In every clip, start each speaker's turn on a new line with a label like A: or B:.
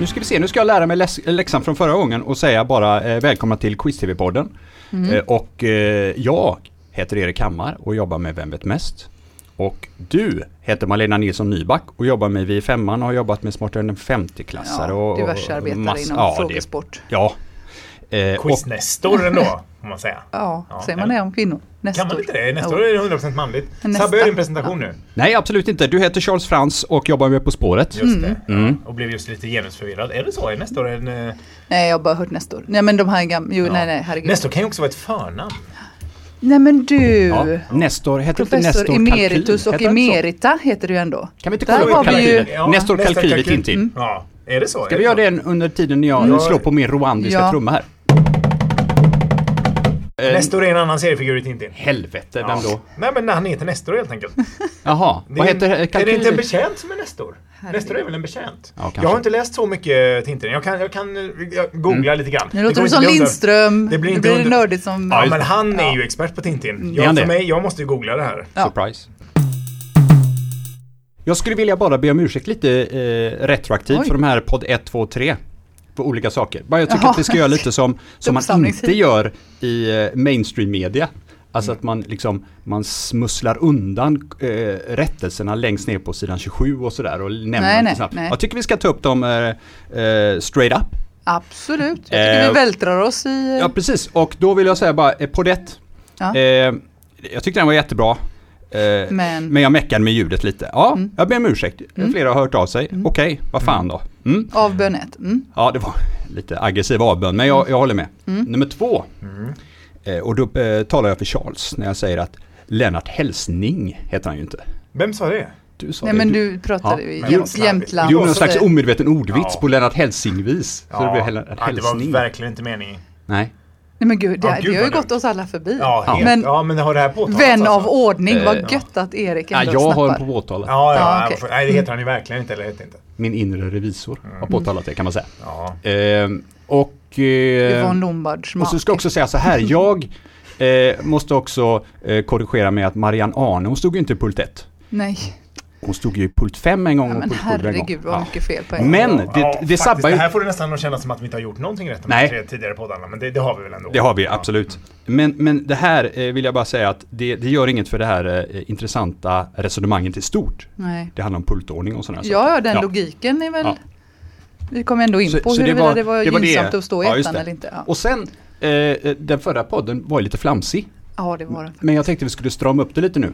A: nu ska vi se, nu ska jag lära mig läs- läxan från förra gången och säga bara eh, välkomna till Quiz-TV-podden.
B: Mm.
A: Eh, och eh, jag heter Erik Hammar och jobbar med Vem vet mest? Och du heter Malena Nilsson Nyback och jobbar med Vi i femman och har jobbat med Smartare än en 50-klassare. och- och
B: diverse arbetare
A: massa-
B: inom
A: ja, det-
B: frågesport.
A: Ja. Eh, och,
C: Quiznestor ändå, får man säga.
B: Ja,
C: Ja,
B: säger man
C: eller-
B: det om kvinnor? Nästor.
C: Kan man inte det? Nästa
B: Jo.
C: år är det 100% manligt.
B: Nästa.
C: Sabbe, gör din presentation nu.
A: nej, absolut inte. Du heter Charles Frans och jobbar med På spåret.
C: Just
B: Mm.
C: det.
A: Mm.
C: Och blev just lite genusförvirrad. Är det så? Är nästa år en... eh,
B: Nej, jag har bara hört Nestor. Nej, men de här gamla... Jo, nej, nej, herregud.
C: Nästa år kan ju också vara ett förnamn.
B: Nej, men du!
A: Ja. Nestor, heter inte
B: Professor
A: Nestor
B: emeritus
A: Kalkyl?
B: och
A: Heter han inte så?
B: emerita heter du ändå.
A: Kan vi inte
B: Där
A: kolla upp
B: har vi ju-
A: kalkylen?
C: Ja,
A: Nestor
C: nästa
A: kalkylet
C: kalkyl. Mm.
A: intill.
C: Ja, är det så?
A: Ska vi göra det en- under tiden när jag slår på min rwandiska
B: Ja.
A: trumma här?
C: Nestor är en annan seriefigur i Tintin.
A: Eh, Helvete,
C: Ja.
A: eh, vem då?
C: Nej men han heter Nestor helt enkelt.
A: Jaha,
C: Det
A: vad
C: är-
A: heter eh,
C: Är det
A: kalkylen?
C: inte en betjänt som är Nestor?
B: Herregud.
C: Nestor är väl en betjänt?
A: Ja, kanske.
C: jag har inte läst så mycket Tintin. Jag kan, jag kan eh, jag googla
A: Mm.
C: lite grann.
B: Nu låter
C: kommer
B: du som
C: inte bli under-
B: Lindström.
C: Det blir
B: nu
C: inte
B: blir det
C: under-
B: nördigt som...
C: Ja, men han är ju expert på Tintin.
A: Är han
C: Jag, för
A: det?
C: mig, jag måste ju googla det här.
B: Ja.
A: Surprise. Jag skulle vilja bara be om ursäkt lite eh, retroaktivt
B: Oj.
A: för de här podd 1, 2, 3. För olika saker. Bara jag tycker
B: Jaha.
A: att vi ska göra lite som, som man
B: Uppsamlingstid.
A: inte gör i eh, mainstream media. Alltså att man liksom, man smusslar undan eh, rättelserna längst ner på sidan 27 och sådär och nämner
B: Nej,
A: inte
B: nej,
A: snabbt.
B: nej.
A: Jag tycker vi ska ta upp dem eh, eh, straight up.
B: Absolut. Jag tycker
A: Eh,
B: vi vältrar oss i...
A: Ja precis, och då vill jag säga bara, eh, podd 1.
B: Ja.
A: Eh, jag tyckte den var jättebra. Eh,
B: Men-
A: jag meckade med ljudet lite. Ja,
B: Mm.
A: jag ber om ursäkt. Flera har hört av sig. Okej, vad fan då. Mm.
B: Av bön ett. Mm.
A: Ja, det var lite aggressiv avbön, men jag, jag håller med. Nummer två.
C: Mm.
A: Eh, och då eh, talar jag för Charles när jag säger att Lennart Hälsning heter han ju inte.
C: Vem sa det?
A: Du sa
B: Nej,
A: det.
B: men du pratade
A: Ja,
B: ju
C: men jag var
B: jämt,
C: slarvig.
B: Jämtland.
A: Du gjorde någon slags omedveten ordvits
C: Ja.
A: på Lennart Hälsing-vis. Så det blev Lennart
C: ja, det var
A: Hälsning.
C: verkligen inte meningen.
A: Nej.
B: Nej, men gud, det,
C: Ja, gud,
B: det har ju
C: vad
B: gått
C: dumt.
B: oss alla förbi.
C: Ja, helt,
B: Men
C: men, ja, men har det här påtalats
B: vän av
C: alltså?
B: ordning,
A: Eh,
B: vad gött att Erik
A: Ja,
B: ändå
A: jag har
B: snappar.
A: en på påtalet.
C: Ja, ja,
B: Ja,
C: ja,
B: okej.
C: för- nej det heter han ju verkligen inte, eller heter inte.
A: Min inre revisor
C: Mm.
A: har påtalat det kan man säga.
C: Ja.
A: Ehm, och,
B: Yvonne
A: eh,
B: Lombards
A: och så ska jag också säga så här, jag eh, måste också eh, korrigera med att Marianne Arne, hon stod ju inte i pult 1.
B: Nej,
A: Hon stod ju i pult 5 en gång
B: ja,
A: och
B: men
A: pult 7 en gång.
B: herregud vad
A: Ja.
B: mycket fel på en.
A: Men det,
C: ja,
A: det
C: faktiskt,
A: sabbar ju...
C: Det här får det nästan att kännas som att vi inte har gjort någonting rätt med
A: Nej.
C: de tre tidigare poddarna, men det, det har vi väl ändå?
A: Det har vi,
C: Ja.
A: absolut. Men, men det här eh, vill jag bara säga att det, det gör inget för det här eh, intressanta resonemanget i stort.
B: Nej.
A: Det handlar om pultordning och sådana här
B: Ja, ja, den
A: Alltså, Ja.
B: logiken är väl...
A: Ja.
B: Vi kom ändå in
A: Så-
B: på
A: så
B: huruvida det var, det var gynnsamt att stå i
A: Ja, just
B: ettan
A: det.
B: eller inte. Ja,
A: Och sen, eh, eh, den förra podden var ju lite flamsig.
B: ja det var det.
A: Men jag tänkte vi skulle strama upp det lite nu.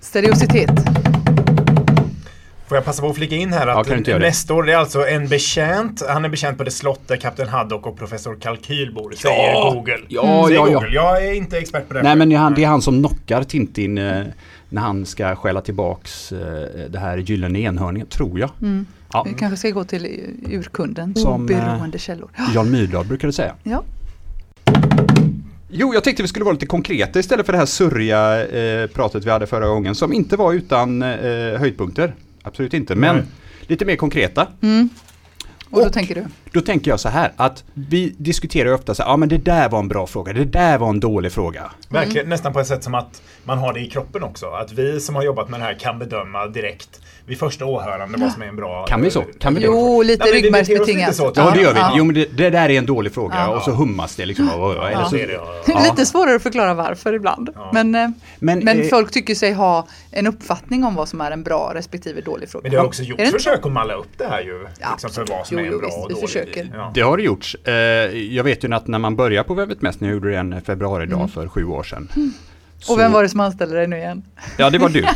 B: Stereositet.
C: Får jag passa på att flika in här
A: Ja,
C: att
A: kan du inte göra det?
C: Nestor, det är alltså en betjänt. Han är betjänt på det slott där Kapten Haddock och Professor Kalkyl bor, säger Google.
A: Ja,
C: säger
A: ja, ja.
C: Google. Jag är inte expert på det. här.
A: Nej men det är han, det är han som knockar Tintin eh, när han ska skälla tillbaks eh, det här gyllene enhörningen, tror jag. Ja,
B: Mm. Vi kanske ska gå till eh, urkunden.
A: Som,
B: Oberoende källor.
A: Jan Myrdal brukade säga.
B: Ja,
A: Jo, jag tänkte vi skulle vara lite konkreta istället för det här surriga eh, pratet vi hade förra gången som inte var utan eh, höjdpunkter. Absolut inte, men
C: Nej.
A: lite mer konkreta.
B: och då
A: Och-
B: tänker du?
A: Då tänker jag så här att vi diskuterar ju ofta så här, ja ah, men det där var en bra fråga, det där var en dålig fråga.
C: Verkligen, nästan på ett sätt som att man har det i kroppen också. Att vi som har jobbat med det här kan bedöma direkt vid första åhörande vad som är en bra... eh,
A: Kan vi så? Kan vi det?
B: Jo, lite
C: Nej, men vi beter oss lite
B: ryggmärgsbetingat.
C: så.
A: Ja, det gör vi.
B: Ja.
A: Jo, men det, det där är en dålig fråga
B: Ja.
A: och så hummas det liksom. Och, och, eller
C: Ja,
A: så,
C: det är det, ja,
B: Det
C: ja.
B: är Lite svårare att förklara varför ibland. Men, eh,
A: Men,
B: men,
A: eh,
B: folk tycker sig ha en uppfattning om vad som är en bra respektive dålig fråga.
C: Men det har också gjort
B: Är det inte så?
C: försök att malla upp det här ju.
B: Ja,
C: liksom för vad som
B: absolut.
C: är
B: Jo,
C: en bra
B: jo, visst,
C: och
B: vi
C: dålig.
B: försöker.
C: Ja.
A: Det har det gjorts. Eh, Jag vet ju att när man börjar på Vem vet mest, när jag gjorde den februaridag för sju år sedan.
B: Mm. Och vem var det som anställde dig nu igen?
A: Ja, det var du.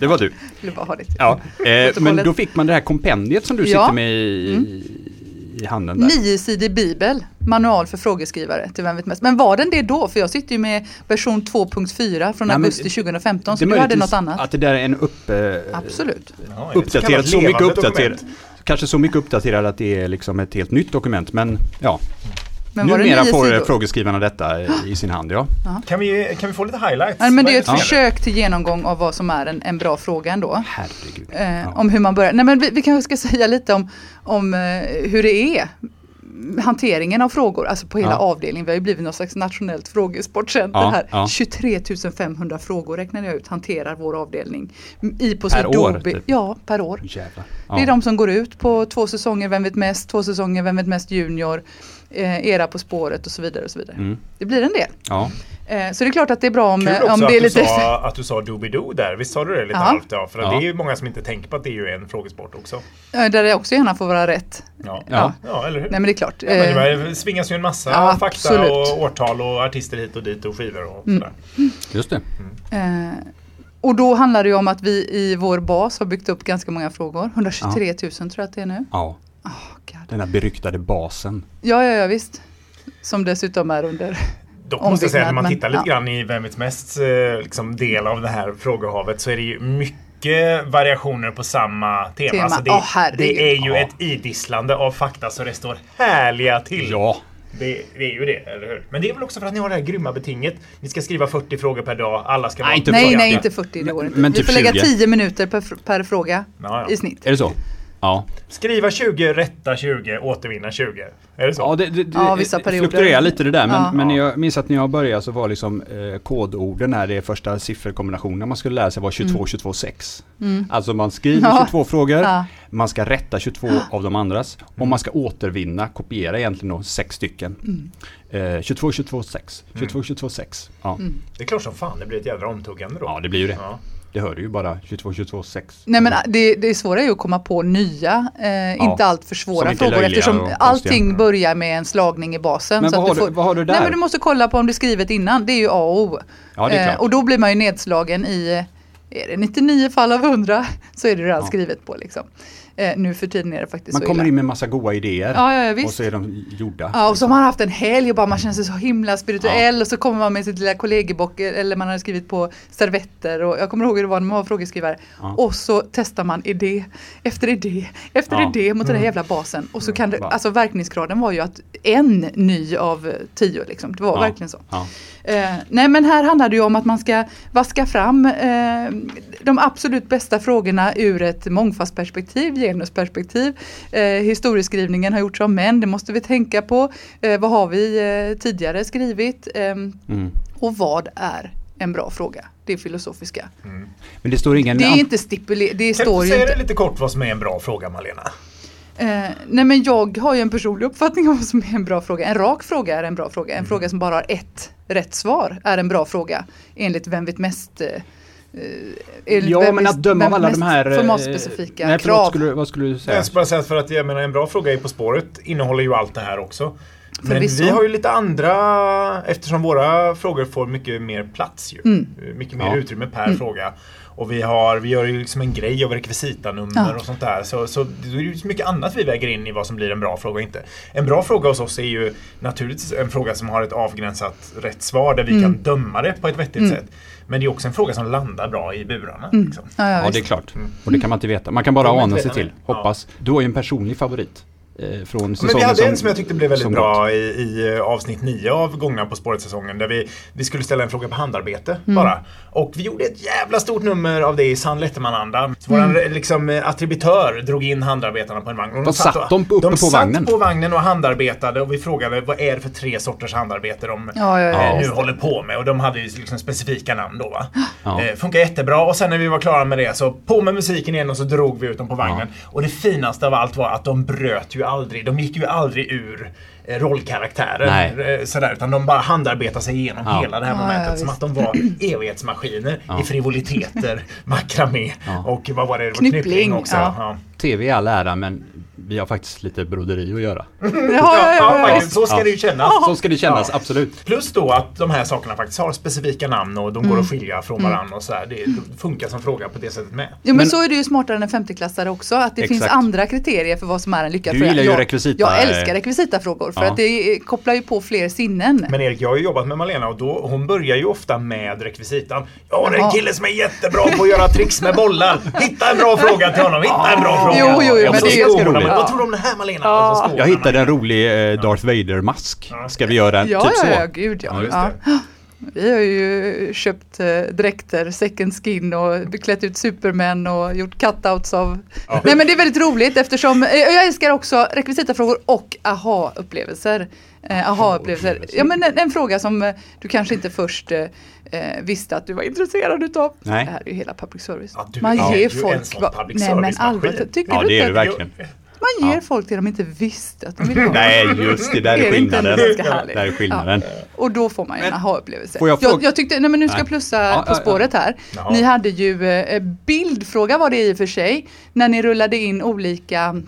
A: Det var du.
B: Jag Vill bara ha det.
A: Ja, eh, men
B: Protokollet.
A: då fick man det här kompendiet som du
B: Ja. Mm.
A: sitter med i, i handen där.
B: Niosidig bibel, manual för frågeskrivare till Vem vet mest. Men var den det då? För jag sitter ju med version 2.4 från
A: Nej, men-
B: augusti 2015, så
A: är
B: du hade
A: möjligtvis
B: något annat?
A: att det där är en upp, eh,
B: Absolut.
C: Ja, det är ett
A: uppdaterat,
C: kallat
A: så mycket
C: levande
A: uppdaterat.
C: dokument.
A: Kanske så mycket uppdaterat att det är liksom ett helt nytt dokument, men ja.
B: Men var det
A: Numera
B: nio
A: får eh,
B: sidor?
A: frågeskrivarna detta eh, i sin hand, ja.
C: Kan vi, kan vi få lite highlights?
B: Nej, men
C: Vad
B: det är ett
C: som gäller?
B: försök till genomgång av vad som är en, en bra fråga ändå.
A: Herregud.
B: Eh,
A: Ja.
B: Om hur man börjar. Nej, men vi, vi kanske ska säga lite om, om eh, hur det är hanteringen av frågor, alltså på hela
A: Ja.
B: avdelningen. Vi har ju blivit någon slags nationellt frågesportcenter
A: Ja,
B: här.
A: ja.
B: 23 500 frågor räknade jag ut hanterar vår avdelning. M- I på
A: Per år,
B: Adobe.
A: typ?
B: Ja, per år.
A: Jävlar.
B: Det är
A: Ja.
B: de som går ut på två säsonger Vem vet mest, två säsonger Vem vet mest junior, eh, era På spåret och så vidare. Och så vidare.
A: Mm.
B: Det blir en del.
A: Ja.
C: Mm.
B: Eh, så det är klart att det är bra om, eh,
C: Kul också
B: om
C: att,
B: det är
C: du
B: lite...
C: sa, att du sa Doobidoo där. Visst sa du det lite
B: Ja.
C: halvt? Ja, för att
A: Ja.
C: det är ju många som inte tänker på att det är ju en frågesport också.
B: Eh, Där jag också gärna får vara rätt.
C: Ja, ja.
A: Ja.
C: eller hur?
B: Nej men det är klart.
C: Ja,
B: Eh,
C: men det var- svingas ju en massa
B: Ja,
C: fakta
B: absolut. Mm.
C: och årtal och artister hit och dit och skivor och sådär.
A: Just det.
B: Eh, och då handlar det ju om att vi i vår bas har byggt upp ganska många frågor. 123 000 tror jag att det är nu.
A: Ja.
B: Oh, God.
A: Den där beryktade basen.
B: Ja, ja, ja, visst. Som dessutom är under...
C: Dock måste jag säga när
B: Ombyggnad,
C: man
B: men-
C: tittar lite
B: ja.
C: grann i Vem vet mest eh, liksom, del av det här frågehavet så är det ju mycket variationer på samma tema.
B: Tema.
C: Alltså det,
B: Åh, herregud.
C: det är ju
A: Ja.
C: ett idisslande av fakta så det står härliga till.
A: Ja.
C: Det, det är ju det, eller hur? Men det är väl också för att ni har det här grymma betinget. Ni ska skriva 40 frågor per dag, alla ska vara
A: Nej, inte
B: nej,
A: 40.
B: nej, inte 40. Det går
A: Men-
B: inte.
A: men
B: vi
A: typ
B: får lägga
A: 20.
B: 10 minuter per, fr- per fråga
C: Ja, ja.
B: i snitt.
A: Är det så? Ja.
C: Skriva 20, rätta 20, återvinna 20. Är det så?
A: Ja, det, det, det
B: Ja, vissa perioder.
A: fluktuerar lite det där. Men,
B: Ja.
A: men jag minns att när jag började så var liksom eh, kodorden här, det är första sifferkombinationen man skulle lära sig var 22, 22, 6. Alltså man skriver
B: Mm. Ja.
A: 22 frågor,
B: Ja.
A: man ska rätta 22 av de andras och man ska återvinna, kopiera egentligen då, sex stycken.
B: Mm.
A: Eh, 22, 22, 6. 22, 22, 6. Ja.
B: Mm.
C: Det är klart som fan det blir ett jädra omtuggande då.
A: ja, det blir ju det.
C: Ja.
A: Det hör du ju bara, 22, 22, 6.
B: Nej men äh, det, det är svåra är ju att komma på nya, eh, inte allt för
A: Som
B: svåra
A: inte är
B: frågor
A: löjliga
B: eftersom
A: och konstiga.
B: allting börjar med en slagning i basen.
A: Men
B: så
A: vad
B: att
A: har du- vad har du där?
B: Nej men du måste kolla på om det är skrivet innan, det är ju A och O.
A: Ja, det är klart.
B: eh, och då blir man ju nedslagen i, eh, är det 99 fall av 100 så är det redan
A: Ja.
B: skrivet på liksom. Eh, nu för tiden är det faktiskt
A: Man
B: så
A: kommer
B: illa.
A: in med massa goda idéer
B: Ja, ja, ja, visst.
A: och så är de gjorda.
B: Ja, och så har man haft en helg och bara man känner sig så himla spirituell och så kommer man med sitt lilla kollegiebock eller man har skrivit på servetter och jag kommer ihåg hur det var när man var frågeskrivare.
A: Ja.
B: Och så testar man idé efter idé efter
A: Ja. Mm.
B: idé mot den här jävla basen. Och så kan det,
A: Va.
B: alltså verkningsgraden var ju att en ny av eh, tio liksom, det var
A: Ja.
B: verkligen så.
A: Ja.
B: Eh, nej men här handlar det ju om att man ska vaska fram eh, de absolut bästa frågorna ur ett mångfaldsperspektiv, genusperspektiv. Eh, historieskrivningen har gjorts av män, det måste vi tänka på. Eh, vad har vi eh, tidigare skrivit? Ehm,
A: Mm.
B: och vad är en bra fråga? Det är filosofiska.
A: Men det står ingen...
B: Det är
A: an-
B: inte stipulerat, det
C: Mm. Kan
B: står
C: du
B: ju
C: säga det
B: inte.
C: lite kort vad som är en bra fråga Malena?
B: Eh, nej men jag har ju en personlig uppfattning om vad som är en bra fråga. En rak fråga är en bra fråga. En
A: Mm.
B: fråga som bara har ett rätt svar är en bra fråga. Enligt Vem vet mest? Eh, eh, enligt
A: Ja,
B: Vem
A: men
B: vet-
A: att döma av
B: Vem
A: alla
B: vet
A: de
B: mest
A: här... eh,
B: Formatspecifika
A: nej, förlåt,
B: krav.
A: Skulle, du- vad skulle du säga?
C: Jag ska bara säga för att jag menar en bra fråga är På spåret innehåller ju allt det här också. Men
B: Förvisso.
C: vi har ju lite andra, eftersom våra frågor får mycket mer plats ju.
B: Mm.
C: Mycket mer
A: Ja.
C: utrymme per fråga. Och vi, har, vi gör ju liksom en grej av rekvisitanummer
B: Ja.
C: och sånt där. Så, så det är ju så mycket annat vi väger in i vad som blir en bra fråga och inte. En bra fråga hos oss är ju naturligtvis en fråga som har ett avgränsat rätt svar där vi
B: Mm.
C: kan döma det på ett vettigt sätt. Men det är också en fråga som landar bra i burarna. Liksom.
B: Mm. Ja, ja,
A: Ja, det är
B: visst.
A: klart. Och det kan man inte veta. Man kan bara
C: Ja, men
A: ana sig
C: tveka
A: till.
C: mig. Ja.
A: Hoppas. Du har ju en personlig favorit. Eh, från
C: Men
A: säsongen
C: vi hade
A: som,
C: en som jag tyckte blev väldigt
A: som gått.
C: bra i, i eh, avsnitt 9 av gångna På spåret-säsongen. Där vi, vi skulle ställa en fråga på handarbete
A: Mm.
C: bara. Och vi gjorde ett jävla stort nummer av det i sann Letterman-anda. Så Våran
A: Mm.
C: liksom, eh, attributör drog in handarbetarna på en vagn. Och
A: Vad satt de på- uppe på vagnen?
C: De satt på vagnen och handarbetade och vi frågade vad är det för tre sorters handarbete de
B: Ja, ja, ja,
C: eh, nu
B: just det.
C: håller på med. Och de hade ju liksom specifika namn då va.
A: Ja.
C: Eh, funkar jättebra och sen när vi var klara med det så på med musiken igen och så drog vi ut dem på vagnen. Och det finaste av allt var att de bröt ju aldrig. De gick ju aldrig ur eh, rollkaraktären.
A: Nej.
C: eh, Sådär, utan de bara handarbetade sig igenom
A: Ja.
C: hela det här
B: Ja,
C: momentet.
B: ja,
C: som
B: visst.
C: att de var evighetsmaskiner i frivoliteter, makramé
A: Ja.
C: och vad var det? det var
B: Knyppling,
C: också.
B: ja.
C: Ja.
A: TV i all ära, men vi har faktiskt lite broderi att göra.
B: Ja, ja, ja, ja,
C: Ja,
B: ja.
C: faktiskt, så ska
A: Ja.
C: det ju kännas.
A: Så ska det kännas,
C: Ja.
A: absolut.
C: Plus då att de här sakerna faktiskt har specifika namn och de går
A: Mm.
C: att skilja från varandra och sådär. Det funkar som fråga på det sättet med.
B: Jo men,
A: Men-
B: så är det ju smartare än en 50-klassare också. Att det finns
A: Exakt.
B: andra kriterier för vad som är en lyckad
A: Du
B: fråga.
A: gillar ju
B: Jag-
A: rekvisita-
B: Jag älskar rekvisitafrågor för
A: Ja.
B: att det eh, kopplar ju på fler sinnen.
C: Men Erik, jag har ju jobbat med Malena och då, hon börjar ju ofta med rekvisitan. Jag har en
B: Jaha.
C: kille som är jättebra på att göra tricks med bollar. Hitta en bra fråga till honom, hitta en bra
A: Ah.
C: fråga.
B: Jo, jo, jo,
C: Och
A: men
C: så
A: det är ganska
C: skorna.
A: roligt. Ah.
C: Vad tror du om det här Malena? Alltså,
B: Ja.
C: Och så skorna.
A: Jag hittade en rolig eh, Darth Vader-mask. Ska vi göra en?
B: ja,
A: typ
B: ja,
A: så.
B: ja, gud ja.
A: Ja, just
B: ja. Vi har ju köpt eh, dräkter, second skin och klätt ut Superman och gjort cutouts av...
C: Ja.
B: Nej men det är väldigt roligt eftersom eh, jag älskar också rekvisitafrågor och aha-upplevelser. Eh, aha-upplevelser.
A: Aha-upplevelser.
B: Ja men en, en fråga som eh, du kanske inte först eh, eh, visste att du var intresserad utav.
A: Nej.
B: Det här är ju hela public service.
C: Ja, du
B: Man
C: är
B: ger
C: ju en
B: folk...
C: sån
B: vad-
C: public
B: Nej men
C: service-maskin.
B: allvarligt, tycker
A: Ja,
B: du
A: det är
B: inte?
A: det verkligen.
B: Man ger
A: Ja.
B: folk det de inte visste att de ville ha.
A: Nej, just det. Där
B: Är
A: är
B: det inte
A: skillnaden.
B: ganska härligt?
A: Där är skillnaden.
B: Och då får man ju en
A: Men-
B: aha-upplevelse.
A: Får jag
B: Jag, jag,
A: fråga-
B: tyckte, nej men nu ska jag
A: Nej.
B: plussa
A: Ja,
B: På
A: ja, ja.
B: spåret här.
C: Jaha.
B: Ni hade ju eh, bildfråga var det i och för sig, när ni rullade in olika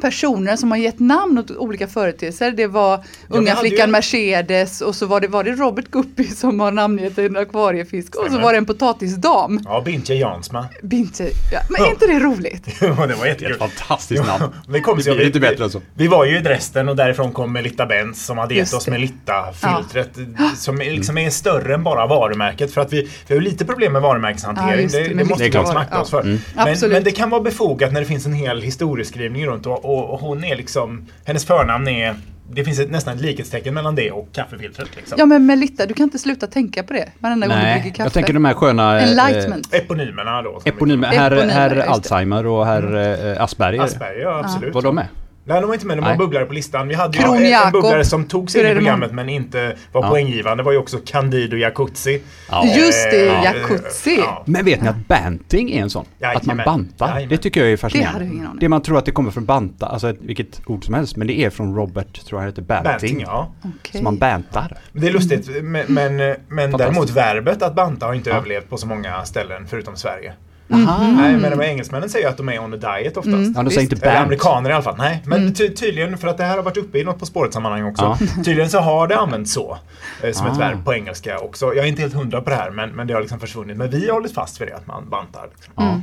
B: personer som har gett namn åt olika företeelser. Det var
C: men
B: unga
C: hade
B: flickan
C: ju-
B: Mercedes och så var det, var det Robert Guppy som har namngett en akvariefisk och så
C: Stämmer.
B: var det en potatisdam.
C: Ja, Bintje Jansma.
B: Binte, ja, men är inte det roligt?
C: Ja, det var
A: Ett
C: jättekul.
A: fantastiskt namn.
C: Vi kom,
A: Det
C: så-
A: blir inte bättre än så.
C: Vi var ju i Dresden och därifrån kom Melitta Benz som hade
B: Just
C: gett oss
B: det.
C: Melitta-filtret. Som är- liksom är större än bara varumärket. För att vi, vi har ju lite problem med
B: Ja,
C: varumärkeshantering.
B: just det,
C: det, det,
B: med
C: måste vi
A: Melitta.
C: akta oss
B: Ja.
A: mm.
C: för. Men,
B: Absolut.
C: men det kan vara befogat när det finns en hel historieskrivning runt och, och, och hon är liksom, hennes förnamn är det finns ett, nästan ett likhetstecken mellan det och kaffefiltret. Liksom.
B: Ja men Melitta, du kan inte sluta tänka på det varenda gång du dricker
A: Nej,
B: kaffe.
A: jag tänker de här sköna... eh,
B: Enlightenment.
C: Eponymerna då. som
A: Eponymer, herr,
B: Eponymer,
A: herr
B: just det. Mm.
A: Alzheimer och herr eh,
C: vi-
A: Asperger.
C: Asperger, ja absolut.
A: Var de med?
C: Nej, de var inte med. De var
A: Nej.
C: bubblare på listan. Vi hade ju
B: Kron
C: en, en
B: Jakob.
C: bubblare som tog sig
B: Hur
C: in
B: är
C: i
B: det
C: programmet men inte var
A: Ja.
C: poänggivande. Det var ju också Candido Jacuzzi. Eh,
A: Ja.
B: Just det,
A: Ja.
B: jacuzzi.
C: Ja.
A: Men vet ni att banting är en sån? att man
C: Jajamän.
A: bantar.
C: Jajamän.
A: Det tycker jag är fascinerande.
B: Det hade jag ingen aning om.
A: Det man tror att det kommer från banta, alltså ett, vilket ord som helst, men det är från Robert, tror jag han heter, banting.
C: Banting, ja.
B: Okej.
A: Så man bantar.
C: Men Det är lustigt, men, men, men däremot verbet att banta har inte överlevt på så många ställen förutom Sverige.
B: Mhm.
A: Aha.
C: Nej, men de här engelsmännen säger att de är on a diet oftast.
A: Mm. Ja, de säger inte
C: Eller
A: bant.
C: amerikaner i alla fall. Nej, men ty- tydligen, för att det här har varit uppe i något På spåret-sammanhang också.
A: Ja.
C: Tydligen så har det använts så. eh, Som ett
A: Ah.
C: verb på engelska också. Jag är inte helt hundra på det här, men, men det har liksom försvunnit. Men vi har hållit fast vid det, att man bantar. Liksom.
A: Ja.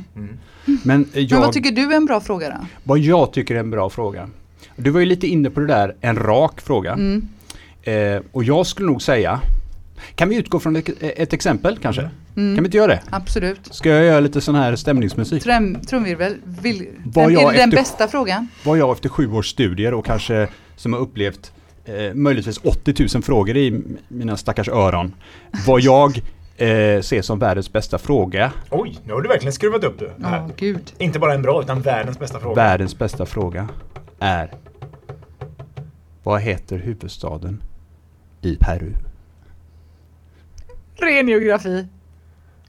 A: Men, eh, jag,
B: Men vad tycker du är en bra fråga då?
A: vad jag tycker är en bra fråga. Du var ju lite inne på det där, en rak fråga.
B: Mm.
A: Eh, och jag skulle nog säga, kan vi utgå från ett, ett exempel kanske?
C: Mm.
B: mm.
A: Kan vi inte göra det?
B: Absolut.
A: Ska jag göra lite sån här stämningsmusik?
B: Trum, trumvirvel, vill,
A: Vad
B: den, är
A: jag
B: det den
A: efter-
B: bästa frågan?
A: vad jag efter sju års studier och kanske som har upplevt eh, möjligtvis 80 000 frågor i m- mina stackars öron. Vad jag eh, ser som världens bästa fråga.
C: Oj, nu har du verkligen skruvat upp du.
B: Ja,
C: Här.
B: gud.
C: Inte bara en bra, utan världens bästa fråga.
A: Världens bästa fråga är Vad heter huvudstaden i Peru?
B: Ren geografi.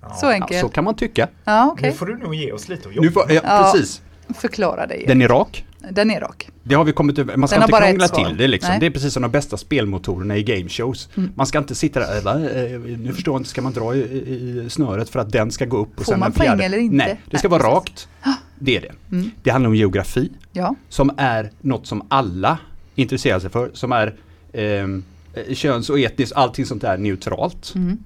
C: Ja.
B: Så
A: Ja,
B: enkelt.
A: så
B: Ja,
A: kan man tycka.
B: okej.
C: Nu får du nog ge oss lite att jobba
A: Nu får, ja,
B: Ja.
A: Precis.
B: Förklara dig. Den,
A: Den är rak.
B: är rak.
A: Det har vi kommit över. Man ska
B: Den har
A: inte
B: bara ett
A: krångla
B: svar.
A: till det liksom.
B: Nej. Mm.
A: Det är precis som de bästa spelmotorerna i game shows. Man ska inte sitta där, eh, va, eh, nu förstår jag inte, ska man dra i, i, i snöret för att den ska gå upp och
B: Får
A: sen
B: man
A: den fjärde.
B: poäng eller inte?
A: Nej, det ska
B: Nej,
A: vara
B: precis.
A: rakt. Det är det. Det handlar om geografi,
B: Mm. Ja.
A: som är något som alla intresserar sig för, som är ehm, eh, köns och etniskt, allting sånt där neutralt.
B: Mm.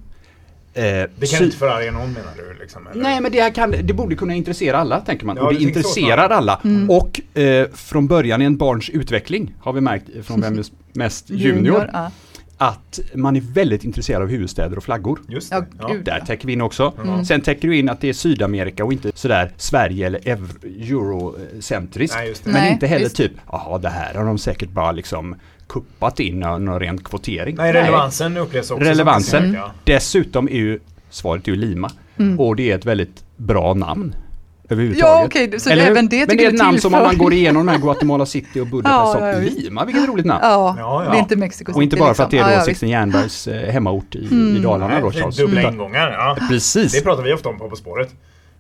A: Eh,
C: Det kan
A: sy-
C: inte förarga någon menar du? Liksom, eller?
A: Nej men det, här kan, det borde kunna intressera alla tänker man.
C: Ja,
A: och det
C: det tänker så
A: intresserar alla. Och eh, från början i en barns utveckling har vi märkt eh, från Vem är mest junior
B: Ja,
A: att man är väldigt intresserad av huvudstäder och flaggor.
C: Just
B: ja
C: det. Ja.
B: gud
A: Där
B: ja.
A: täcker vi in också. Mm. Sen täcker du in att det är Sydamerika och inte sådär Sverige eller ev- eurocentriskt.
C: Nej, just det.
A: Men
B: Nej,
A: inte heller
B: visst.
A: typ, jaha det här har de säkert bara liksom kuppat in eh, någon, någon ren kvotering.
C: Nej, relevansen upplevs också. som Mm.
A: Relevansen.
C: ganska- ja.
A: Dessutom är ju svaret ju Lima. Och det är ett väldigt bra namn. Överhuvudtaget.
B: Mm. Ja, okej, så
A: Eller hur?
B: även det
A: Men
B: tycker
A: det är
B: du
A: ett namn som om
B: tillför.
A: man går igenom den här Guatemala City och Budapest
B: Ja,
A: som
B: ja, visst.
A: Lima, vilket roligt namn.
B: Ja,
C: Ja, ja.
B: det är inte Mexiko
A: Och inte
B: City,
A: bara för att det
B: liksom.
A: är
B: Ja, Mm.
A: då
B: ja,
A: Sixten Jernbergs eh, hemort i, i Dalarna då
C: Nej,
A: Charles. Mm.
C: Dubbla
A: Utan-
C: ingångar, ja. Det
A: Precis,
C: pratar vi ofta om på På spåret.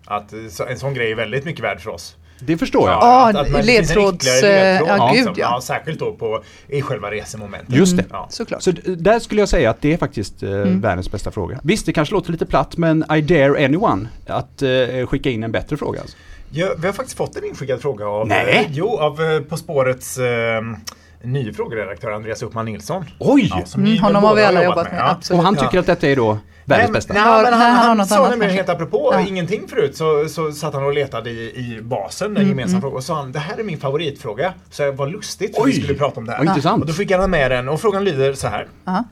C: Att eh, så- en sån grej är väldigt mycket värd för oss.
A: det förstår jag.
B: Ja,
C: man- det finns en
B: Ah, ledtråds- eh,
C: ytterligare ledtråd,
B: ja,
C: liksom.
B: gud, ja.
C: Särskilt då på, i själva resemomentet.
A: Just det.
C: Ja.
B: Såklart.
A: Så d- där skulle jag säga att det är faktiskt eh,
B: Mm.
A: världens bästa fråga. Visst, det kanske låter lite platt men I dare anyone att eh, skicka in en bättre fråga. Alltså.
C: Ja, vi har faktiskt fått en inskickad fråga av,
A: Nej.
C: jo, av eh, På spårets eh, nye frågeredaktör Andreas Uppman Nilsson.
A: Oj!
C: Ja, som ni
B: Mm,
C: väl
B: honom
C: båda
B: har vi alla jobbat med,
C: ja.
A: Och
B: absolut.
A: han
C: Ja.
A: tycker att detta är då
C: Nej,
A: världens
C: men-
A: bästa.
C: Nej,
B: Ja,
C: men
B: nej,
C: han,
B: han har
C: han
B: något
C: sa
B: annat
C: nämligen
B: kanske.
C: helt apropå
B: Ja.
C: ingenting förut så, så satt han och letade i, i basen,
B: Mm,
C: en gemensam fråga, och sa han det här är min favoritfråga. Så vad lustigt för vi
A: Oj.
C: skulle prata om det här.
A: Vad intressant.
C: Och då skickade han med den och frågan lyder så här.
B: Ja.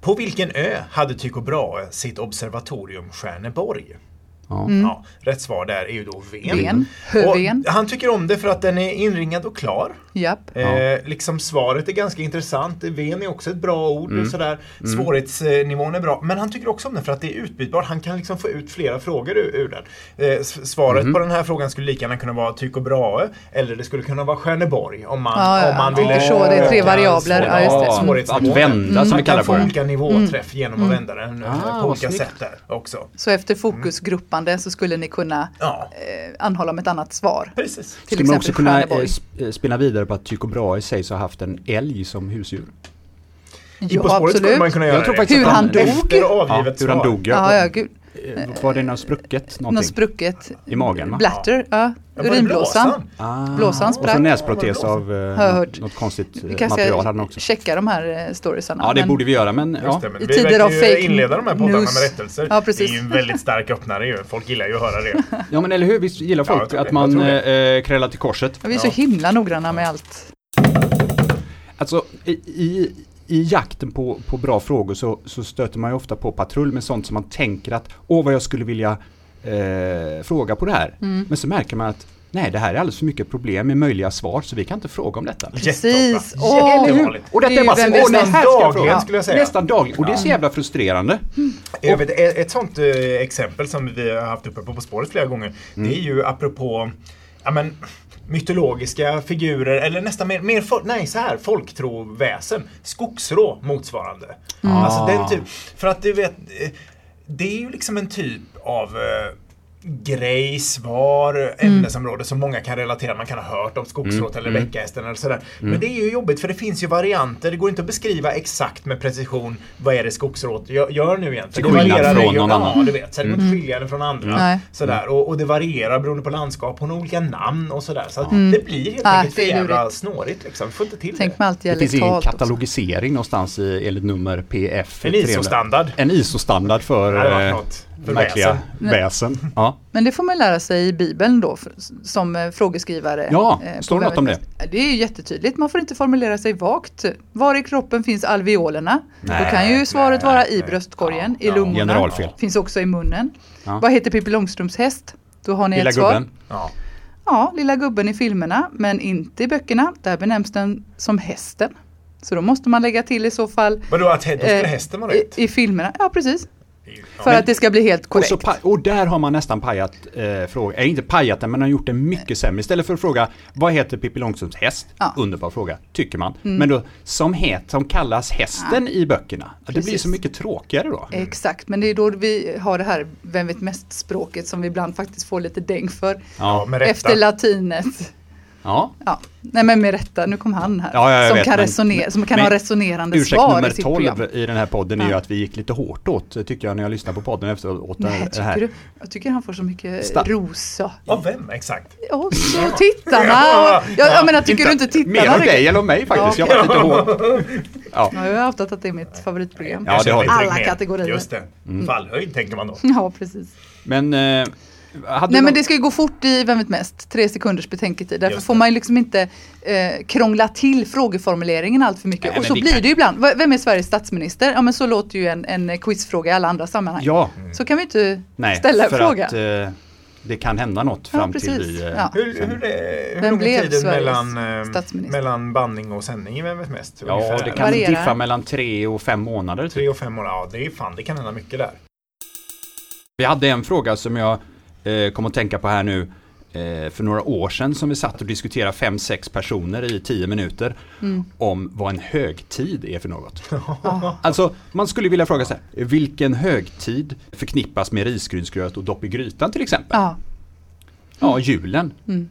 C: På vilken ö hade Tycho Brahe sitt observatorium Stjärneborg?
A: Ja.
B: Mm.
C: Ja, rätt svar där är ju då ven.
B: Ven.
C: Och
B: Höven.
C: han tycker om det för att den är inringad och klar.
B: Japp.
A: Ja.
C: Eh, liksom svaret är ganska intressant. Ven är också ett bra ord.
A: Mm.
C: Och sådär. Svårighetsnivån är bra. Men han tycker också om den för att det är utbytbart. Han kan liksom få ut flera frågor ur, ur den. Eh, s- svaret
A: Mm.
C: på den här frågan skulle lika gärna kunna vara Tycho Brahe. Eller det skulle kunna vara Stjärneborg. Om man,
B: Ja, ja,
C: om man
B: ja.
C: ville
B: Så det är tre
C: öka
B: variabler. Ja, just det.
C: svår-
B: Mm.
C: svårighetsnivån.
A: Att vända, som
C: man
A: vi kallar
C: kan få
A: på det.
C: olika nivåträff genom att vända den eh,
A: Ah,
C: på
A: vad
C: olika
A: snyggt.
C: sätt där också.
B: Så efter fokusgruppande så skulle ni kunna
C: Ja,
B: eh, anhålla om ett annat svar.
C: precis.
B: Till
A: Skulle man också
B: exempel
A: kunna eh,
B: Stjärneborg.
A: sp- eh, spinna vidare på att Tycho Brahe sägs ha haft en älg som husdjur?
C: I På
B: Ja,
C: spåret skulle man
B: absolut.
C: kunna göra
A: Jag tror
C: det.
A: faktiskt
B: Hur
A: att
B: han dog?
C: Efter avgivet
A: hur han
C: svar.
A: dog.
B: Ja, ja, gud.
A: Eh, Var det något sprucket någonting?
B: Något sprucket.
A: I magen va?
B: Blatter, ja.
C: Ja, var det
B: Urinblåsan.
C: blåsan?
A: Ah.
B: Blåsan
A: Och så
B: sprack.
A: näsprotes av eh,
B: jag
A: något-
B: hört.
A: något konstigt eh,
B: Vi kanske
A: material hade han
B: ska
A: också.
B: checka de här eh, storiesarna.
A: Ja det
B: men-
A: borde vi göra men ja.
C: Just det, men
B: I
C: vi
B: tider
C: verkar
B: av
C: ju
B: fake
C: inleda de här poddarna
B: news.
C: med rättelser.
B: Ja, precis.
C: Det är ju en väldigt stark öppnare ju. Folk gillar ju att höra det.
A: Ja men eller hur, visst gillar
C: Ja, jag
A: folk
C: tror
A: att
C: det,
A: man
C: jag tror
A: eh, krälar till korset?
B: Ja, Vi är så
C: Ja.
B: himla noggranna med allt.
A: Alltså i, i, i jakten på, på bra frågor så, så stöter man ju ofta på patrull med sånt som man tänker att åh vad jag skulle vilja eh, fråga på det här. Men så märker man att nej det här är alldeles för mycket problem med möjliga svar så vi kan inte fråga om detta.
B: Precis.
C: Jätteofta.
B: Åh,
C: Jättevanligt.
A: Och detta
B: Det är
A: är bara
B: ju
A: så-
B: vem
A: åh, det här
B: bestämmer.
A: ska jag
C: Dagligen
A: fråga.
C: skulle jag säga.
A: Nästan dagligen och det är så jävla frustrerande.
C: Jag vet, ett ett sånt eh, exempel som vi har haft uppe på På spåret flera gånger, det är ju apropå ja, men, mytologiska figurer eller nästan mer, mer fol- nej, så här, folktroväsen. Skogsrå motsvarande. Alltså den typ, för att du vet, eh, det är ju liksom en typ av eh, grej, svar, ämnesområde som många kan relatera. Man kan ha hört om skogsrået eller bäckhästen eller sådär. Men det är ju jobbigt för det finns ju varianter. Det går inte att beskriva exakt med precision vad är det skogsrået gö- gör nu igen. För
A: Till skillnad
C: varierar
A: från
C: regionalt.
A: någon annan.
C: Ja, du vet. Så det går inte att skilja det från andra.
B: Mm. Nej.
C: Sådär. Och, och det varierar beroende på landskap. Hon har olika namn och sådär. Så att det blir helt
B: Ah,
C: enkelt för
B: det är
C: jävla
B: lurigt.
C: snårigt liksom. Vi får inte till
B: Tänk
C: det.
B: med allt
A: Det finns ingen
B: dialektalt. också.
A: katalogisering någonstans i enligt nummer PF.
C: En ISO-standard.
A: En ISO-standard för,
C: Det hade varit
A: eh,
C: något. För
A: märkliga väsen. Ja.
B: Men det får man lära sig i Bibeln då för, som eh, frågeskrivare.
A: Ja,
B: eh, på
A: står det något om det?
B: Ja, Det är ju jättetydligt. Man får inte formulera sig vagt. Var i kroppen finns alveolerna? då kan ju svaret
C: nej,
B: vara i
C: nej.
B: bröstkorgen,
C: Ja, ja.
B: i lungorna.
A: Generalfel.
B: Finns också i munnen.
A: Ja.
B: Vad heter Pippi Långstrumps häst? Då har ni
A: Lilla
B: ett svar.
A: gubben.
C: Ja.
B: Ja, lilla gubben i filmerna, men inte i böckerna. Där benämns den som hästen. Så då måste man lägga till i så fall
C: Vadå, att hä- då skulle
B: eh,
C: hästen vara rätt?
B: i, i filmerna. Ja, precis.
C: Ja.
B: För att det ska bli helt
A: Och,
B: korrekt.
A: så pa- och där har man nästan pajat eh, frågan, eh, inte pajat den men har gjort den mycket sämre. Istället för att fråga vad heter Pippi Långstrumps häst?
B: Ja. Mm.
A: Underbar fråga, tycker man. Men då som het, som kallas hästen i böckerna. Det blir
B: Precis. Eh,
A: så mycket tråkigare då.
B: Exakt, men det är då vi har det här Vem vet mest-språket som vi ibland faktiskt får lite däng för.
C: Ja,
A: Ja,
C: med rätta.
B: Efter latinet.
A: ja.
B: Ja. Nej men med rätta, nu kom han här.
A: Ja, ja, jag
B: som,
A: vet,
B: kan
A: men-
B: resonera, som kan
A: men-
B: ha resonerande
A: Ursäkt
B: svar
A: nummer
B: i sitt program.
A: 12 i den här podden är ju
B: Ja.
A: att vi gick lite hårt åt, tyckte jag när jag lyssnade på podden efteråt.
B: Nej,
A: det
B: tycker du? Jag tycker han får så mycket
A: Sta-
B: rosa.
C: Av vem exakt?
B: Och så tittarna! Ja,
C: Ja,
B: jag
C: ja,
B: menar, tycker du inte tittarna?
A: Mer om
B: riktigt-
A: dig än om mig faktiskt, jag var lite hård. Ja.
B: Ja, jag har avtat att det är mitt favoritprogram.
A: Ja, det har Mm.
B: Alla
C: Jag känner mig trygg med.
B: kategorier.
C: Just det. Fallhöjd tänker man då.
B: Ja, precis.
A: Men, eh, hade
B: Nej
A: någon-
B: men det ska ju gå fort i Vem vet mest? Tre sekunders betänketid. Därför
C: Just
B: får
C: det.
B: man ju liksom inte eh, krångla till frågeformuleringen allt för mycket.
A: Nej,
B: och
A: men
B: så
A: vi
B: blir
A: kan-
B: det ju ibland. V- Vem är Sveriges statsminister? Ja men så låter ju en, en quizfråga i alla andra sammanhang.
A: Ja,
B: Så kan vi inte
A: nej,
B: ställa en
A: för
B: fråga.
A: att eh, det kan hända något
B: Ja,
A: fram till
B: precis.
A: vi... eh,
B: Ja.
C: Hur, hur, hur
B: Vem
C: lång
B: blev
C: är tiden
B: Sveriges
C: mellan, eh,
B: statsminister?
C: mellan banning och sändning i Vem vet mest?
A: Ja,
C: Ungefär.
A: det kan
B: Varierar.
A: diffa mellan tre och fem månader. Typ.
C: Tre och fem år, ja det är fan, det kan hända mycket där.
A: Vi hade en fråga som jag eh, kom att tänka på här nu eh, för några år sedan som vi satt och diskuterade fem, sex personer i tio minuter om vad en högtid är för något. alltså, man skulle vilja fråga så här, vilken högtid förknippas med risgrynsgröt och dopp i grytan till exempel?
B: Ja.
A: Ja, julen.
B: Mm.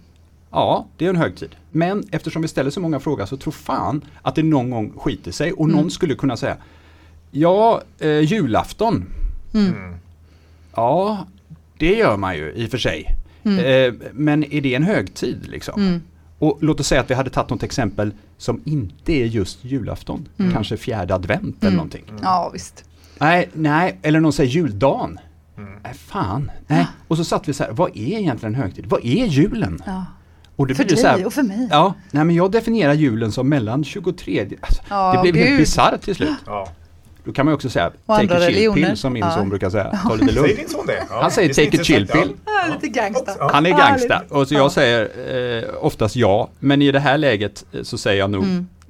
A: Ja, det är en högtid. Men eftersom vi ställer så många frågor så tror fan att det någon gång skiter sig och
B: Mm.
A: någon skulle kunna säga Ja, eh, julafton.
C: Mm,
A: Ja, det gör man ju i och för sig.
B: Mm.
A: Eh, men är det en högtid liksom? Och låt oss säga att vi hade tagit något exempel som inte är just julafton.
B: Mm.
A: Kanske fjärde advent eller någonting.
B: ja, visst.
A: Nej, nej, eller någon säger juldagen. Nej, fan.
B: Ah.
A: Nej. Och så satt vi så här, vad är egentligen en högtid? Vad är julen?
B: Ja.
A: Och det
B: För
A: blir
B: dig
A: så här,
B: och för mig.
A: Ja, nej men jag definierar julen som mellan 23, alltså,
B: Ja,
A: det blev
B: gud.
A: helt bisarrt till slut.
C: Ja.
A: Då kan man ju också säga
B: Och
A: take
B: andra
A: a chill
B: religioner.
A: pill som min
B: Ja.
A: son brukar säga. Ta lite
C: Säger
A: lugnt.
C: din son det? Ja,
A: Han säger
C: det är så
A: take a chill
C: intressant,
A: pill.
B: Ja, lite gangsta.
C: Oops, ja.
A: Han är gangsta.
B: Härligt.
A: Och så
B: Ja.
A: jag säger eh, oftast ja. Men i det här läget eh, så säger jag nog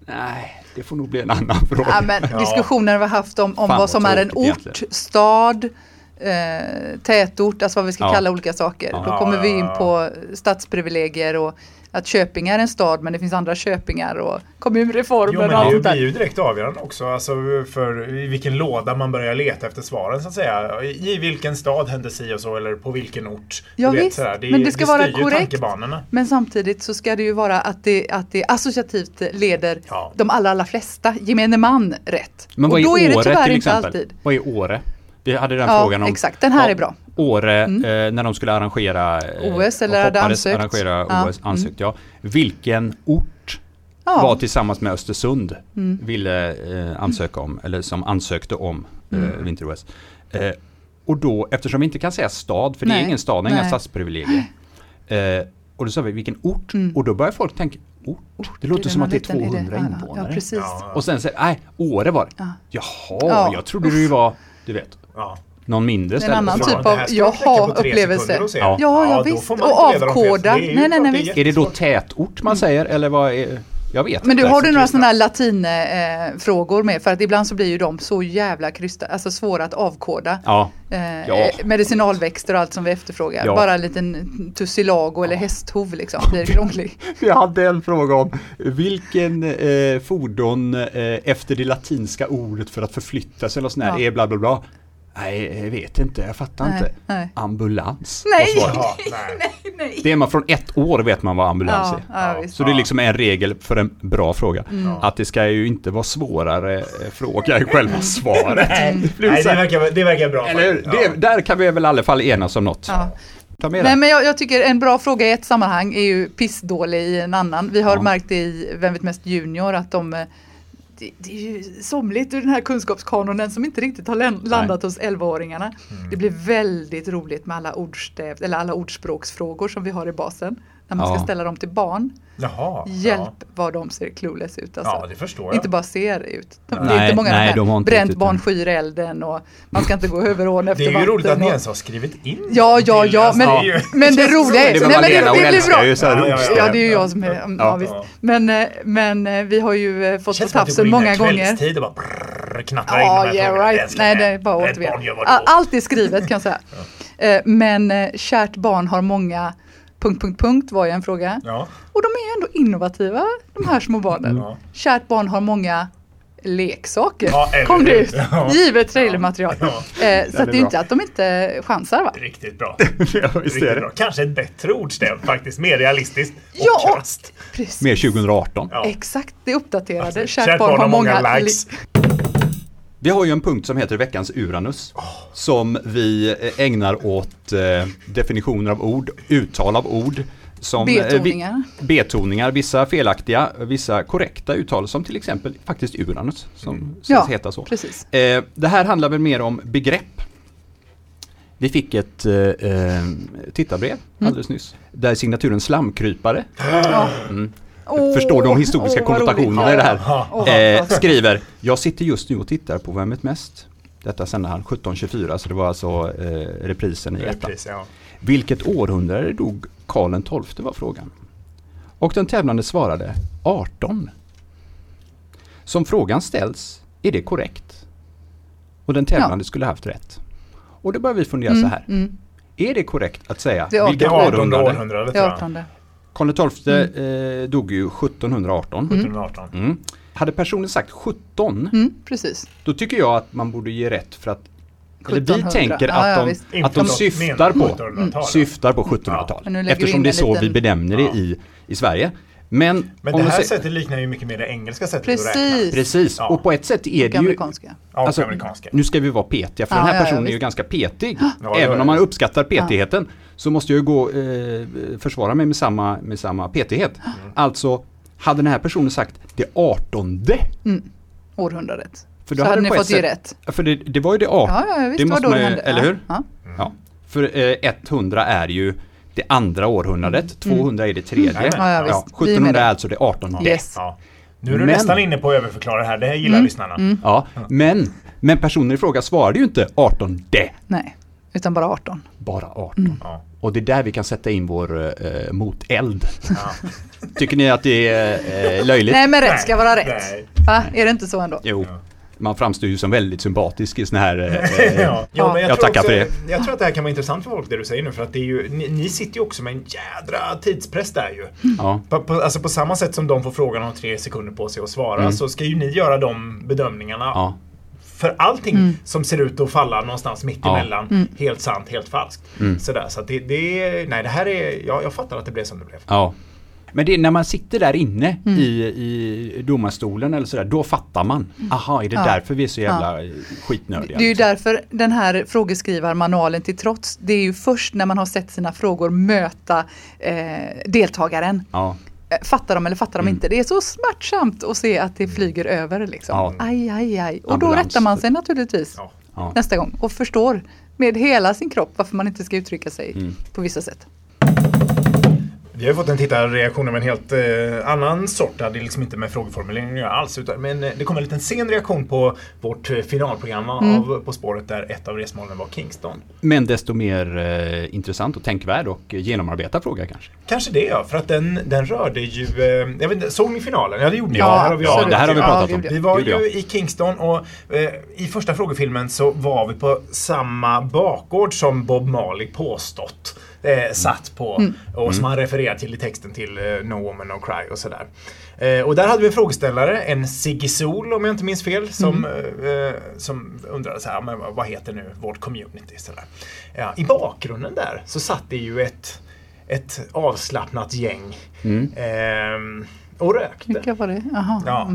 A: nej, det får nog bli en annan fråga.
B: Mm. Ja, men
C: Ja.
B: diskussioner vi har haft om, om
A: Fan,
B: vad
A: vad
B: som är en ort,
A: tråkigt egentligen.
B: stad, eh, tätort, alltså vad vi ska
A: Ja.
B: kalla olika saker. Då
C: Ja,
B: kommer vi
C: ja,
B: in
C: ja.
B: på stadsprivilegier och att Köping är en stad men det finns andra Köpingar och kommunreformer
C: Jo,
B: och allt
C: men det
B: sånt
C: blir
B: där.
C: ju direkt avgörande också alltså, för i vilken låda man börjar leta efter svaren så att säga. I vilken stad hände si och så eller på vilken ort.
B: Ja,
C: Du vet,
B: visst.
C: sådär.
B: Men det ska vara
C: styr ju
B: korrekt.
C: tankebanorna.
B: Men samtidigt så ska det ju vara att det, att det associativt leder
C: Ja.
B: de allra, allra flesta, gemene man, rätt.
A: Men vad
B: och då
A: är
B: är det
A: Åre
B: tyvärr
A: till
B: inte
A: exempel?
B: alltid.
A: Vad är Åre? Vi hade den
B: Ja,
A: frågan om
B: exakt. Den här
A: Ja,
B: är bra.
A: Åre eh, när de skulle arrangera eh,
B: OS eller
A: och
B: hade
A: hoppades
B: ansökt.
A: arrangera
B: Ja. mm.
A: OS, ansökt, ja. Vilken ort
B: Ja. Mm.
A: var tillsammans med Östersund ville eh, ansöka om, eller som ansökte om
B: Mm.
A: eh, vinter-OS. Eh, och då, eftersom vi inte kan säga stad, för det
B: Nej,
A: är ingen stad, det är inga
B: nej.
A: stadsprivilegier. Eh, och då sa vi vilken ort, och då börjar folk tänka, ort? Det
B: Mm. Är
A: låter som
B: någon
A: att det är
B: liten idé?
A: 200
B: Ja, ja.
A: invånare.
B: Ja, precis.
C: Ja,
A: Och sen säger nej, Åre var det. Jaha,
B: Ja.
A: jag trodde det ju var, du vet,
C: ja.
A: någon mindre ställe.
B: annan
A: Så-
B: typ.
C: Ja, det här ska
B: av
C: man knäcka på tre
B: jaha-upplevelse.
C: sekunder och se.
A: Ja.
B: Ja, ja,
C: då
B: visst.
C: får man
B: Och
C: inte leda dem fel.
B: avkoda.
C: Det är ju
B: Nej, nej, nej,
C: klart,
B: visst.
A: Är det då tätort man säger eller vad är, jag vet
B: Men du,
A: inte.
B: har du några
C: kristna.
B: sådana här latinfrågor eh, frågor med? För att ibland så blir ju de så jävla krysta, alltså svåra att avkoda.
A: Ja,
B: Eh,
A: Ja.
B: eh, Medicinalväxter och allt som vi efterfrågar.
A: Ja.
B: Bara en liten tussilago eller hästhov liksom, blir krånglig.
A: Jag hade en fråga om vilken eh, fordon eh, efter det latinska ordet för att förflytta sig eller sån här
B: Ja.
A: är bla bla bla. Nej, jag vet inte, jag fattar
B: Nej,
A: inte.
B: nej.
A: Ambulans.
B: Nej.
A: var svaret.
C: Ja, nej.
B: Nej.
A: Det är man från ett år vet man vad ambulans
B: Ja, Mm.
A: är.
B: ja,
C: Ja.
B: visst.
A: Så det är liksom en regel för en bra fråga. Att det ska ju inte vara svårare eh, fråga i
B: Mm.
A: själva svaret. Det blir
C: nej
A: så
C: det,
A: här-
C: verkar, det verkar bra.
A: Eller hur?
C: faktiskt.
A: Det, där kan vi väl i alla fall enas om något.
B: Ja.
A: Ta med
B: Nej
A: den.
B: men jag, jag tycker en bra fråga i ett sammanhang är ju pissdålig i en annan. Vi har
A: Ja.
B: märkt det i Vem vet mest junior att de eh, det, det är ju somligt ur den här kunskapskanonen som inte riktigt har län- landat hos 11-åringarna.
C: Mm.
B: Det blir väldigt roligt med alla, ordstäv, eller alla ordspråksfrågor som vi har i basen. När man ska
A: Ja.
B: ställa dem till barn.
C: Jaha.
B: Hjälp vad de ser clueless ut. Alltså.
C: Ja, det förstår jag.
B: inte bara ser ut. De, det är
A: Nej,
B: inte många
A: nej,
B: nej,
A: de har inte
B: bränt
A: riktigt
B: barn
A: den.
B: skyr elden och man ska inte gå över ån efter
C: Det är ju
B: vatten.
C: roligt att ni
B: och-
C: ens har skrivit in
B: Ja, ja,
C: till-
B: ja,
C: alltså,
B: men,
C: det är ju-
B: men det roliga är...
A: Det är väl
B: Nej, men det,
A: Malena, hon
B: det blir
A: älskar ju
B: bra.
A: så här
C: Ja, ja,
A: ordstäv.
B: Ja, det är ju jag som är... Ja,
A: Ja.
B: visst. Men, eh, men eh, vi har ju eh, fått på
C: Känns som att du går
B: tafsen
C: in
B: många
C: där
B: gånger.
C: kvällstid och bara brrr, knattrar in de
B: Ja,
C: här
B: yeah
C: frågorna.
B: right.
C: ska
B: Nej,
C: med.
B: det är bara
C: Ett barn
B: återvinning.
C: gör vad det
B: All-
C: vill.
B: Allt är skrivet kan jag säga. Eh, Men eh, kärt barn har många... Punkt, punkt, punkt var ju en fråga.
C: Ja.
B: Och de är ju ändå innovativa, de här små barnen.
C: Ja.
B: Kärt barn har många leksaker,
C: Ja, eller
B: kom det
C: hur?
B: ut.
C: Ja.
B: Givet trailermaterial.
C: Ja.
B: Eh, så
A: det är
B: att det är ju
A: bra.
B: inte att de inte chansar va?
C: Riktigt bra.
A: Ja, visst är
C: Riktigt bra.
A: det.
C: Kanske ett bättre ordstäv faktiskt. Mer realistiskt och
B: Ja.
C: krasst.
B: Precis.
A: Mer 2018.
C: Ja. Alltså,
B: Exakt, det uppdaterade.
C: Kärt
B: Kärt barn har många
C: likes.
B: li-
A: Vi har ju en punkt som heter veckans Uranus. Som vi eh, ägnar åt eh, definitioner av ord, uttal av ord. Som, eh, vi-
B: Betoningar.
A: betoningar, vissa felaktiga, vissa korrekta uttal som till exempel faktiskt Uranus. Som sägs
B: Ja,
A: heta så.
B: precis.
A: Eh, det här handlar väl mer om begrepp. Vi fick ett eh, eh, tittarbrev alldeles nyss. Där signaturen slamkrypare
B: Åh,
A: Mm. förstår de historiska
B: åh, vad Mm,
A: konnotationerna
B: roligt.
A: i det här.
C: Ja.
B: Åh,
A: Eh,
B: vad-
A: skriver, jag sitter just nu och tittar på Vem vet mest? Detta sände han 1724, så det var alltså eh, reprisen i ettan.
C: Repris, ja.
A: Vilket århundrade dog Karl XII var frågan. Och den tävlande svarade 18. Som frågan ställs, är det korrekt? Och den tävlande skulle haft rätt. Och då börjar vi fundera så här. Är det korrekt att säga
B: Mm. Det är
A: vilket
C: Det 18
A: århundrade?
C: århundradet
B: Det
C: tror
B: är
C: jag.
B: 18.
A: Karl XII
B: Mm.
A: eh, dog ju 1718.
C: 1718.
A: Mm. Hade personen sagt 17,
B: Mm, precis.
A: då tycker jag att man borde ge rätt för att eller vi
B: 1700.
A: tänker
B: Ja, ja,
A: att de,
B: visst.
A: att de
C: Inte
A: syftar
C: men-
A: på,
C: 1700-talet.
A: syftar på
B: Men nu
A: 1700-tal.
B: lägger vi in
A: Eftersom det är
B: en
A: så
B: liten-
A: vi benämner det i, i Sverige. Men,
C: Men
A: om
C: det
A: man
C: här
A: säger-
C: sättet liknar ju mycket mer det engelska sättet att
B: Precis.
C: räkna.
A: Precis,
C: Ja.
A: och på ett sätt är det ju...
B: Amerikanska.
C: Ja, och
A: Alltså,
C: amerikanska.
A: nu ska vi vara petiga, för
B: Ja,
A: den här
B: ja, ja,
A: personen är ju
B: visst.
A: ganska petig.
C: ja,
A: Även
C: ja.
A: om man uppskattar petigheten så måste jag ju gå, eh, försvara mig med samma, med samma petighet. Alltså, hade den här personen sagt det artonde
B: Århundradet.
A: För
B: Så
A: då
B: hade
A: hade
B: ni
A: det på
B: fått
A: ett
B: ju
A: sätt-
B: rätt.
A: För det, det var ju det 18.
B: Ja, ja, visst. Det var
A: måste
B: då det
A: man ju-
B: hände.
A: Eller
B: Ja,
A: hur?
B: ja.
A: Ja. För eh, 100 är ju det andra århundradet, 200 är det tredje.
C: Mm.
B: Ja, ja, visst. Vi är med
A: 1700
B: det.
A: är alltså det 18.
B: Yes.
C: Ja. Nu är du
A: Men-
B: Mm.
C: nästan inne på att överförklara det här, det här gillar lyssnarna.
A: Ja, men Men personen i fråga svarade ju inte 18 det,
B: Nej, utan bara 18.
A: bara 18.
B: Mm.
C: Ja.
A: Och det är där vi kan sätta in vår eh, moteld.
C: Ja.
A: Tycker ni att det är eh, löjligt?
B: Nej men rätt ska vara
C: Nej.
B: rätt. Va? Är det inte så ändå?
A: Jo,
C: Ja.
A: man framstår ju som väldigt sympatisk i sådana här... Eh, eh,
C: ja. Jo, men
A: Jag
C: tror
A: tackar
C: också,
A: för det.
C: Jag tror att det här kan vara intressant för folk det du säger nu för att det är ju, ni, ni sitter ju också med en jädra tidspress där ju.
A: ja.
C: På, på, alltså på samma sätt som de får frågan och har tre sekunder på sig att svara
A: Mm.
C: så ska ju ni göra de bedömningarna
A: Ja. Mm.
C: för allting som ser ut att falla någonstans mitt
A: Ja. Mm.
C: emellan. Helt sant, helt falskt. Sådär, så att det, det är- nej det här är, jag, jag fattar att det blev som det blev.
A: Ja. Men det, är när man sitter där inne
B: Mm.
A: i, i domarstolen eller sådär, då fattar man. Aha, är det
B: Mm. Ja.
A: därför vi är så jävla eh, skitnödiga?
B: Det är ju
A: liksom?
B: därför den här frågeskrivarmanualen till trots, det är ju först när man har sett sina frågor möta eh, deltagaren.
A: Ja.
B: Eh, Fattar de eller fattar de
A: Mm.
B: inte? Det är så smärtsamt att se att det flyger över liksom.
A: Ja.
B: Aj, aj, aj. Och då
A: Ambulans.
B: rättar man sig naturligtvis
C: Ja.
A: Ja.
B: nästa gång och förstår med hela sin kropp varför man inte ska uttrycka sig
A: Mm.
B: på vissa sätt.
C: Vi har ju fått en tittarreaktion av en helt eh, annan sort. Det hade liksom inte med frågeformuleringen att göra alls. Utan, men eh, det kom en liten sen reaktion på vårt eh, finalprogram av På spåret där ett av resmålen var Kingston.
A: Men desto mer eh, intressant och tänkvärd och eh, genomarbetad fråga kanske.
C: Kanske det ja, för att den, den rörde ju... Eh, jag vet inte, såg ni finalen? Ja, det gjorde ni.
A: Ja,
C: Det här har vi
A: ja,
C: avgjort.
A: det här har vi
B: Ja,
A: pratat om.
B: gud, ja.
C: Vi var
A: Gjorde jag.
C: ju i Kingston och eh, i första frågefilmen så var vi på samma bakgård som Bob Marley påstått eh, satt på och som han refererar till i texten till eh, No Woman No Cry och sådär. Eh, och där hade vi en frågeställare, en Ziggy Sol om jag inte minns fel, som, eh, som undrade så här, men vad heter nu vårt community? Sådär. Ja, I bakgrunden där så satt det ju ett, ett avslappnat gäng ehm, och rökte.
B: Vilka var det? Mm. Jaha.
C: Ja,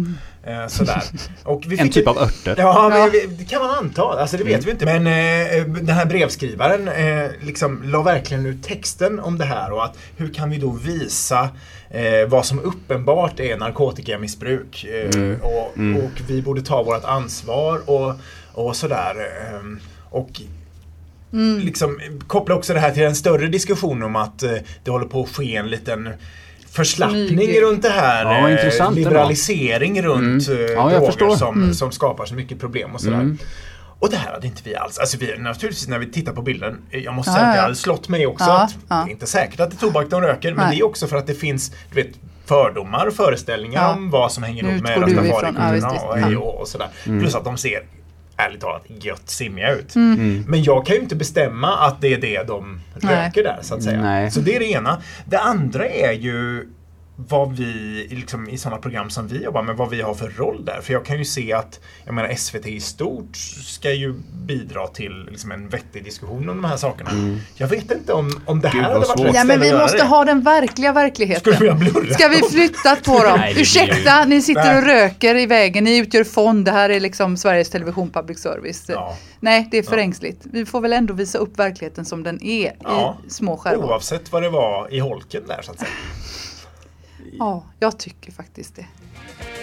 C: eh, sådär. Och vi
A: En
C: fick
A: typ
C: ju-
A: av örter.
C: Ja, men
B: Ja.
C: vi- det kan man anta. Alltså det vet vi inte. Men eh, den här brevskrivaren eh, liksom la verkligen ut texten om det här och att hur kan vi då visa eh, vad som uppenbart är narkotikamissbruk eh,
A: Mm.
C: och, och vi borde ta vårt ansvar och, och sådär. Eh, och
B: Mm.
C: liksom, koppla också det här till en större diskussion om att eh, det håller på att ske en liten förslappning
B: Smyg.
C: runt det här.
A: Ja,
C: eh,
A: intressant ändå.
C: liberalisering runt
A: Mm.
C: eh,
A: Ja, jag
C: droger
A: förstår.
C: som,
B: Mm.
C: som skapar så mycket problem och sådär. Och det här hade inte vi alls. Alltså vi, naturligtvis när vi tittar på bilden, eh, jag måste
B: Ja,
C: säga att
B: ja.
C: det hade slått mig också.
B: Ja,
C: att
B: ja.
C: Det är inte säkert att det är tobak de röker, men
B: Nej.
C: det är också för att det finns, du vet, fördomar och föreställningar
B: Ja.
C: om vad som hänger
B: Nu
C: ihop med
B: utgår du ifrån. Ja,
C: rastafarikulturerna
B: visst, visst. Ja. Mm.
C: och, och, och sådär. Plus att de ser, ärligt talat, gött simmiga ut. Men jag kan ju inte bestämma att det är det de
B: Nej.
C: röker där, så att säga.
A: Nej.
C: Så det är det ena. Det andra är ju vad vi, liksom, i sådana program som vi jobbar med, vad vi har för roll där. För jag kan ju se att, jag menar SVT i stort ska ju bidra till liksom, en vettig diskussion om de här sakerna. Jag vet inte om, om det här
A: Mm. vad
C: hade varit
A: svårt.
C: rätt
B: Ja men
C: ställe
B: vi
C: att göra
B: måste
C: det.
B: ha den verkliga verkligheten.
C: Skulle vi ha blurrat?
B: Ska vi flytta på dem?
A: Nej, det blir
B: Ursäkta, ni sitter och
C: Nej.
B: röker i vägen, ni utgör fond, det här är liksom Sveriges Television Public Service.
C: Ja.
B: Nej, det är för ängsligt. Vi får väl ändå visa upp verkligheten som den är
C: Ja. Oh,
B: i små skärmar.
C: Oavsett vad det var i holken där så att säga.
B: Ja, jag tycker faktiskt det.